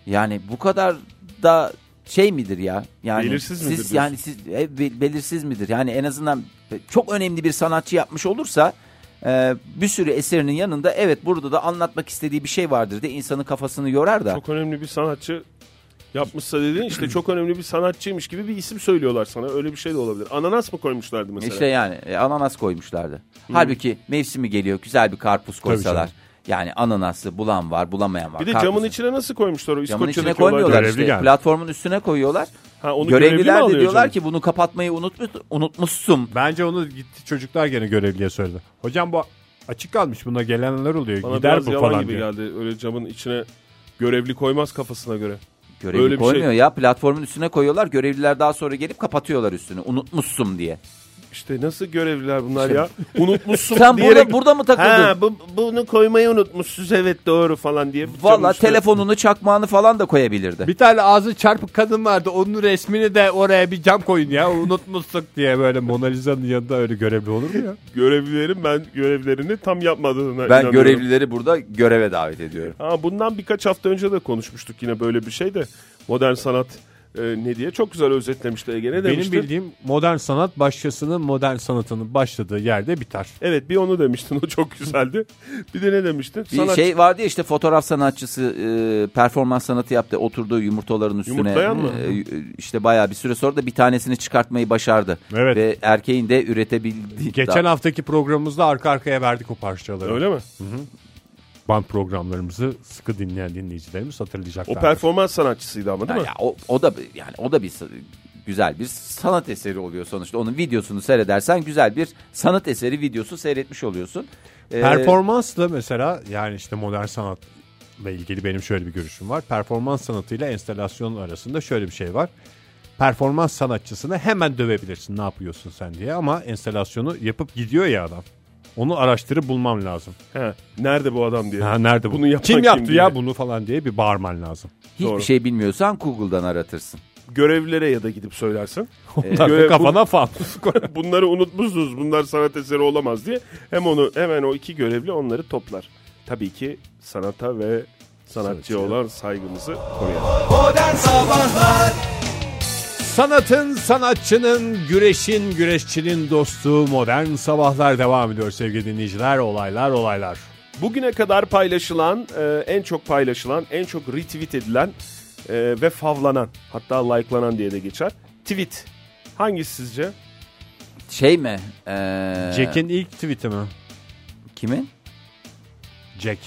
Speaker 5: yani bu kadar da şey midir ya? Yani
Speaker 4: Belirsiz
Speaker 5: siz
Speaker 4: midir diyorsun?
Speaker 5: yani siz e, be- belirsiz midir? Yani en azından be- çok önemli bir sanatçı yapmış olursa e, bir sürü eserinin yanında evet burada da anlatmak istediği bir şey vardır de insanın kafasını yorar da.
Speaker 4: Çok önemli bir sanatçı yapmışsa dedin işte çok önemli bir sanatçıymış gibi bir isim söylüyorlar sana. Öyle bir şey de olabilir. Ananas mı koymuşlardı mesela?
Speaker 5: İşte yani e, ananas koymuşlardı. Halbuki mevsimi geliyor güzel bir karpuz koysalar.
Speaker 3: canım.
Speaker 5: Yani ananası bulan var bulamayan var.
Speaker 4: bir de
Speaker 5: Karpuzu-
Speaker 4: camın içine nasıl koymuşlar
Speaker 5: Camın
Speaker 4: o
Speaker 5: içine
Speaker 4: İskoçya'daki olayda?
Speaker 5: koymuyorlar
Speaker 3: Görevli
Speaker 5: işte.
Speaker 3: gelmiş.
Speaker 5: Platformun üstüne koyuyorlar.
Speaker 4: Ha, onu görevli mi
Speaker 5: Görevliler de
Speaker 4: alıyor
Speaker 5: diyorlar
Speaker 4: canım?
Speaker 5: ki bunu kapatmayı unutmuş, unutmuşsun.
Speaker 3: Bence onu gitti çocuklar gene görevliye söyledi. Hocam bu açık kalmış buna gelenler oluyor.
Speaker 4: Bana
Speaker 3: Gider
Speaker 4: biraz
Speaker 3: bu
Speaker 4: yalan
Speaker 3: falan
Speaker 4: gibi
Speaker 3: diyor.
Speaker 4: geldi. Öyle camın içine görevli koymaz kafasına göre.
Speaker 5: Görevli
Speaker 4: Öyle bir
Speaker 5: koymuyor
Speaker 4: şey.
Speaker 5: ya platformun üstüne koyuyorlar. Görevliler daha sonra gelip kapatıyorlar üstüne unutmuşsun diye.
Speaker 4: İşte nasıl görevliler
Speaker 3: (laughs)
Speaker 4: bunlar ya? Unutmuşsun
Speaker 5: Sen
Speaker 4: diyerek-
Speaker 5: burada, burada mı takıldın?
Speaker 4: Ha, bu, bunu koymayı unutmuşsunuz evet doğru falan diye.
Speaker 5: Valla
Speaker 4: Camın üstüne-
Speaker 5: telefonunu çakmağını falan da koyabilirdi.
Speaker 3: Bir tane ağzı çarpık kadın vardı. Onun resmini de oraya bir cam koyun ya. Unutmuştuk diye böyle Mona Lisa'nın yanında öyle görevli olur mu ya?
Speaker 4: Görevlilerin ben görevlerini tam yapmadığına
Speaker 5: ben
Speaker 4: inanıyorum.
Speaker 5: görevlileri burada göreve davet ediyorum.
Speaker 4: Ha, bundan birkaç hafta önce de konuşmuştuk yine böyle bir şey de. Modern sanat e, ne diye çok güzel özetlemişti Ege ne
Speaker 3: Benim
Speaker 4: demişti?
Speaker 3: bildiğim modern sanat başkasının modern sanatının başladığı yerde biter.
Speaker 4: Evet bir onu demiştin o çok güzeldi. Bir de ne demiştin?
Speaker 5: Bir
Speaker 4: Sanat
Speaker 5: şey vardı ya işte fotoğraf sanatçısı e, performans sanatı yaptı. Oturduğu yumurtaların üstüne
Speaker 4: Yumurtlayan mı?
Speaker 5: e, işte bayağı bir süre sonra da bir tanesini çıkartmayı başardı.
Speaker 3: Evet.
Speaker 5: Ve erkeğin de üretebildiği.
Speaker 3: Geçen haftaki programımızda arka arkaya verdik o parçaları.
Speaker 4: öyle mi?
Speaker 3: Band programlarımızı sıkı dinleyen dinleyicilerimiz hatırlayacaklar.
Speaker 4: O performans sanatçısıydı ama değil mi?
Speaker 5: Ya o, o da yani o da bir s- güzel bir sanat eseri oluyor sonuçta. Onun videosunu seyredersen güzel bir sanat eseri videosu seyretmiş oluyorsun. Ee,
Speaker 3: Performansla mesela yani işte modern sanatla ilgili benim şöyle bir görüşüm var. Performans sanatıyla enstalasyon arasında şöyle bir şey var. Performans sanatçısını hemen dövebilirsin ne yapıyorsun sen diye ama enstalasyonu yapıp gidiyor ya adam. Onu araştırıp bulmam lazım.
Speaker 4: He, nerede bu adam diye.
Speaker 3: Ha, nerede bu?
Speaker 4: Bunu yapan
Speaker 3: kim yaptı ya
Speaker 4: diye.
Speaker 3: bunu falan diye bir bağırman lazım.
Speaker 5: hiçbir
Speaker 4: Doğru.
Speaker 5: şey bilmiyorsan Google'dan aratırsın.
Speaker 4: Görevlilere ya da gidip söylersin.
Speaker 3: (laughs)
Speaker 4: Ee,
Speaker 3: Takı
Speaker 4: Görev-
Speaker 3: kafana falan.
Speaker 4: (laughs) Bunları unutmuşsunuz. Bunlar sanat eseri olamaz diye. Hem onu hemen o iki görevli onları toplar. Tabii ki sanata ve sanatçıya olan saygımızı koruyalım.
Speaker 2: Modern Sabahlar
Speaker 3: Sanatın, sanatçının, güreşin, güreşçinin dostu modern sabahlar devam ediyor sevgili dinleyiciler. Olaylar, olaylar.
Speaker 4: Bugüne kadar paylaşılan, e, en çok paylaşılan, en çok retweet edilen e, ve favlanan hatta likelanan diye de geçer. Tweet. Hangisi sizce?
Speaker 5: Şey mi? Ee,
Speaker 3: Jack'in ilk tweet'i mi?
Speaker 5: Kimin?
Speaker 3: Jack.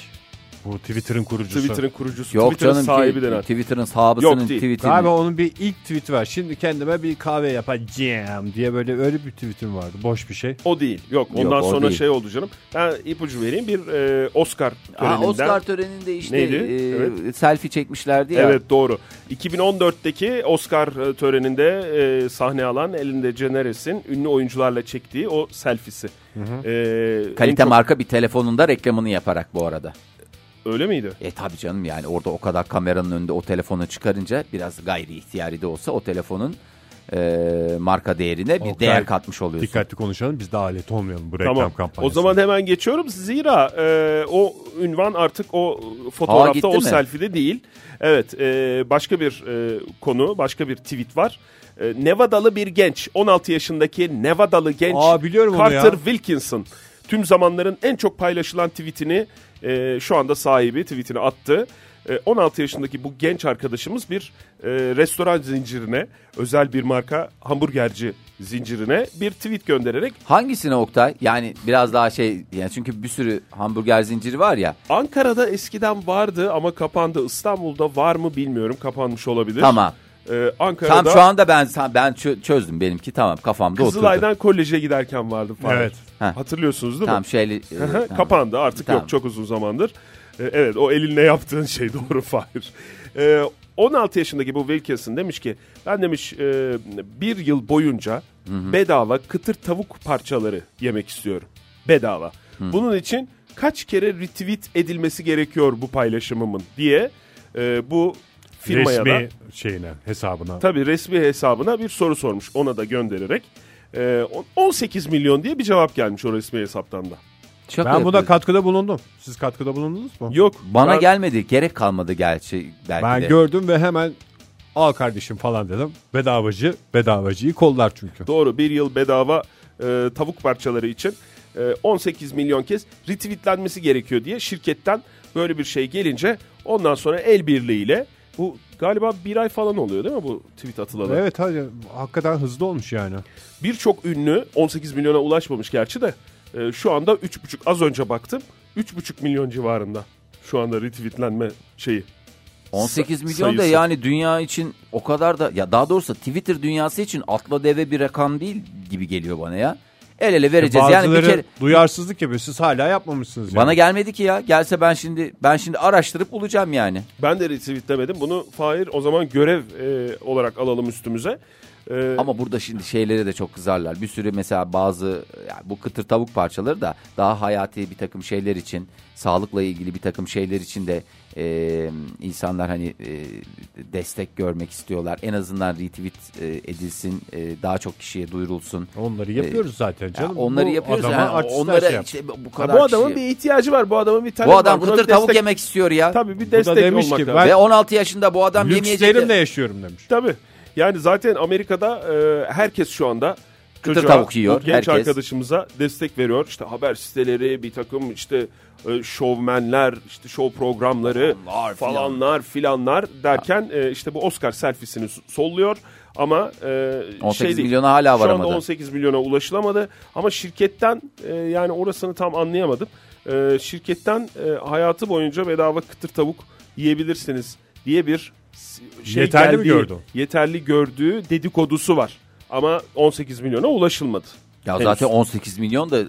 Speaker 3: Bu Twitter'ın kurucusu.
Speaker 4: Twitter'ın kurucusu,
Speaker 5: Yok
Speaker 4: Twitter'ın
Speaker 5: canım.
Speaker 4: sahibi
Speaker 5: Sahibi
Speaker 4: denen.
Speaker 5: Twitter'ın sahabısının
Speaker 4: Yok değil.
Speaker 5: tweetini.
Speaker 3: Abi onun bir ilk tweet'i var. Şimdi kendime bir kahve yapacağım diye böyle öyle bir tweet'im vardı. Boş bir şey.
Speaker 4: O değil. Yok ondan
Speaker 5: o
Speaker 4: sonra
Speaker 5: değil.
Speaker 4: şey oldu canım. Ben ipucu vereyim. Bir e, Oscar
Speaker 5: Aa,
Speaker 4: töreninden.
Speaker 5: Oscar töreninde işte
Speaker 4: Neydi?
Speaker 5: e,
Speaker 4: Evet.
Speaker 5: selfie çekmişlerdi ya.
Speaker 4: Evet doğru. 2014'teki Oscar e, töreninde e, sahne alan elinde Jenneres'in ünlü oyuncularla çektiği o selfiesi. E, en
Speaker 5: Kalite
Speaker 4: çok-
Speaker 5: marka bir telefonunda reklamını yaparak bu arada.
Speaker 4: Öyle miydi?
Speaker 5: E tabii canım yani orada o kadar kameranın önünde o telefonu çıkarınca biraz gayri ihtiyari de olsa o telefonun e, marka değerine bir
Speaker 3: O gayri-
Speaker 5: değer katmış oluyorsun.
Speaker 3: Dikkatli konuşalım biz de alet olmayalım bu reklam
Speaker 4: Tamam.
Speaker 3: kampanyası.
Speaker 4: O zaman hemen geçiyorum. Zira e, o ünvan artık o
Speaker 5: Aa, gitti
Speaker 4: fotoğrafta o
Speaker 5: mi?
Speaker 4: selfie'de değil. Evet e, başka bir e, konu, başka bir tweet var. E, Nevadalı bir genç, 16 yaşındaki Nevadalı genç
Speaker 3: Aa, biliyorum onu
Speaker 4: Carter
Speaker 3: ya.
Speaker 4: Wilkinson. Tüm zamanların en çok paylaşılan tweetini e, şu anda sahibi tweetini attı. E, 16 yaşındaki bu genç arkadaşımız bir e, restoran zincirine, özel bir marka hamburgerci zincirine bir tweet göndererek
Speaker 5: Hangisine Oktay? Yani biraz daha şey yani çünkü bir sürü hamburger zinciri var ya.
Speaker 4: Ankara'da eskiden vardı ama kapandı. İstanbul'da var mı bilmiyorum. Kapanmış olabilir.
Speaker 5: Tamam.
Speaker 4: Ee, Ankara'da
Speaker 5: Tam şu anda ben ben çö- çözdüm benimki tamam kafamda oturdu.
Speaker 4: Kızılay'dan koleje giderken vardı. Falan.
Speaker 3: Evet.
Speaker 5: Heh.
Speaker 4: Hatırlıyorsunuz değil
Speaker 5: Tamam
Speaker 4: mi?
Speaker 5: şeyli.
Speaker 3: (laughs)
Speaker 5: e,
Speaker 4: Hı hı,
Speaker 5: tamam.
Speaker 4: Kapandı artık
Speaker 5: Tamam.
Speaker 4: yok çok uzun zamandır. Ee, evet o elinle yaptığın şey (laughs) doğru Fahir. Ee, 16 yaşındaki bu Wilkinson demiş ki ben demiş e, bir yıl boyunca bedava kıtır tavuk parçaları yemek istiyorum. Bedava. Bunun için kaç kere retweet edilmesi gerekiyor bu paylaşımımın diye e, bu firmaya da
Speaker 3: Resmi şeyine hesabına.
Speaker 4: Tabii resmi hesabına bir soru sormuş ona da göndererek. Ee, on- 18 milyon diye bir cevap gelmiş o resmi hesaptan da.
Speaker 5: Şaka
Speaker 3: ben buna
Speaker 5: yapıyorsun.
Speaker 3: katkıda bulundum. Siz katkıda bulundunuz mu?
Speaker 4: Yok.
Speaker 5: Bana
Speaker 4: ben-
Speaker 5: gelmedi gerek kalmadı gerçi belki
Speaker 3: Ben
Speaker 5: de.
Speaker 3: gördüm ve hemen al kardeşim falan dedim. Bedavacı bedavacıyı kollar çünkü.
Speaker 4: Doğru bir yıl bedava e, tavuk parçaları için e, 18 milyon kez retweetlenmesi gerekiyor diye şirketten böyle bir şey gelince ondan sonra el birliğiyle bu galiba bir ay falan oluyor değil mi bu tweet atılalı?
Speaker 3: Evet hadi hakikaten hızlı olmuş yani.
Speaker 4: Birçok ünlü 18 milyona ulaşmamış gerçi de e, şu anda 3,5 az önce baktım 3,5 milyon civarında şu anda retweetlenme şeyi.
Speaker 5: 18
Speaker 4: Sa-
Speaker 5: milyon da
Speaker 4: sayısı.
Speaker 5: yani dünya için o kadar da ya daha doğrusu Twitter dünyası için atla deve bir rakam değil gibi geliyor bana ya. El ele vereceğiz yani bir
Speaker 3: Bazıları
Speaker 5: kere
Speaker 3: duyarsızlık yapıyor. Siz hala yapmamışsınız.
Speaker 5: bana
Speaker 3: yani.
Speaker 5: gelmedi ki ya. Gelse ben şimdi ben şimdi araştırıp bulacağım yani.
Speaker 4: Ben de retweetlemedim. Bunu Fahir o zaman görev e, olarak alalım üstümüze. E,
Speaker 5: Ama burada şimdi şeylere de çok kızarlar. Bir sürü mesela bazı yani bu kıtır tavuk parçaları da daha hayati bir takım şeyler için, sağlıkla ilgili bir takım şeyler için de e, insanlar hani e, destek görmek istiyorlar. En azından retweet e, edilsin, e, daha çok kişiye duyurulsun.
Speaker 3: Onları yapıyoruz zaten
Speaker 5: Ee, Ya
Speaker 3: canım.
Speaker 5: onları
Speaker 3: Bu
Speaker 5: yapıyoruz
Speaker 3: adama
Speaker 5: yani.
Speaker 3: artistler
Speaker 5: Onlara
Speaker 3: şey yap.
Speaker 5: işte bu
Speaker 4: ha,
Speaker 5: kadar
Speaker 4: bu adamın
Speaker 5: kişi-
Speaker 4: bir ihtiyacı var. Bu adamın bir talebi
Speaker 5: Bu
Speaker 4: var.
Speaker 5: adam
Speaker 4: Buna
Speaker 5: kıtır
Speaker 4: bir
Speaker 5: tavuk
Speaker 4: destek-
Speaker 5: yemek istiyor ya.
Speaker 4: Tabii bir
Speaker 3: da
Speaker 4: destek
Speaker 3: demiş
Speaker 4: olmak
Speaker 3: ki,
Speaker 4: lazım.
Speaker 3: ben-
Speaker 5: Ve 16 yaşında bu adam yemeyecek.
Speaker 3: Lükslerimle
Speaker 5: ya.
Speaker 3: yaşıyorum demiş.
Speaker 4: Tabii. Yani zaten Amerika'da e, herkes şu anda
Speaker 5: Kıtır tavuk yiyor,
Speaker 4: bu Genç
Speaker 5: herkes.
Speaker 4: arkadaşımıza destek veriyor. İşte haber siteleri, bir takım işte e, şovmenler, işte şov programları
Speaker 5: Falanlar, filan.
Speaker 4: falanlar filanlar derken e, işte bu Oscar selfiesini s- solluyor. Ama e,
Speaker 5: 18
Speaker 4: şey değil.
Speaker 5: milyona hala
Speaker 4: Şu
Speaker 5: varamadı.
Speaker 4: anda 18 milyona ulaşılamadı. Ama şirketten e, yani orasını tam anlayamadım. E, şirketten e, hayatı boyunca bedava kıtır tavuk yiyebilirsiniz diye bir şey
Speaker 3: Yeterli mi
Speaker 4: geldiği,
Speaker 3: gördü?
Speaker 4: Yeterli gördüğü dedikodusu var. Ama 18 milyona ulaşılmadı.
Speaker 5: Ya
Speaker 4: Henüz.
Speaker 5: zaten 18 milyon da e,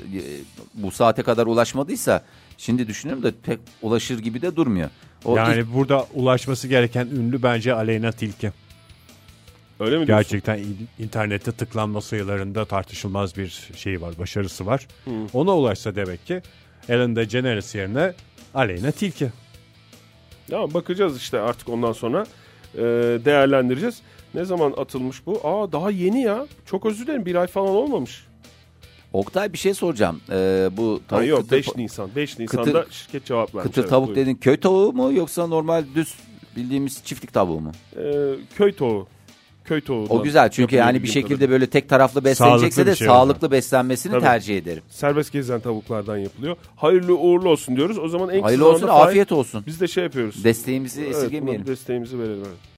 Speaker 5: bu saate kadar ulaşmadıysa şimdi düşünüyorum da pek ulaşır gibi de durmuyor. O
Speaker 3: Yani
Speaker 5: ilk-
Speaker 3: burada ulaşması gereken ünlü bence Aleyna Tilki.
Speaker 4: Öyle mi diyorsun?
Speaker 3: Gerçekten in- internette tıklanma sayılarında tartışılmaz bir şey var, başarısı var. Ona ulaşsa demek ki Ellen DeGeneres yerine Aleyna Tilki.
Speaker 4: Ya bakacağız işte artık ondan sonra e, değerlendireceğiz. Ne zaman atılmış bu? Aa daha yeni ya. Çok özür dilerim bir ay falan olmamış.
Speaker 5: Oktay bir şey soracağım. Ee, bu tavuk
Speaker 4: Ha, yok
Speaker 5: kıtır,
Speaker 4: 5 Nisan. 5 Nisan'da şirket cevap vermiş.
Speaker 5: kıtır
Speaker 4: evet,
Speaker 5: tavuk
Speaker 4: buyurun.
Speaker 5: dedin köy tavuğu mu yoksa normal düz bildiğimiz çiftlik tavuğu mu?
Speaker 4: Ee, köy tavuğu. Köy tavuğu.
Speaker 5: O güzel çünkü yani bir şekilde böyle tek taraflı beslenecekse
Speaker 3: Sağlıklı
Speaker 5: de
Speaker 3: bir şey o da.
Speaker 5: sağlıklı beslenmesini
Speaker 4: Tabii.
Speaker 5: tercih ederim.
Speaker 4: Serbest gezen tavuklardan yapılıyor. Hayırlı uğurlu olsun diyoruz. O zaman en kısa
Speaker 5: Hayırlı olsun
Speaker 4: zamanda Fahir-
Speaker 5: afiyet olsun.
Speaker 4: Biz de şey yapıyoruz.
Speaker 5: Desteğimizi
Speaker 4: Evet, buna
Speaker 5: esirgemeyelim.
Speaker 4: desteğimizi verelim. evet.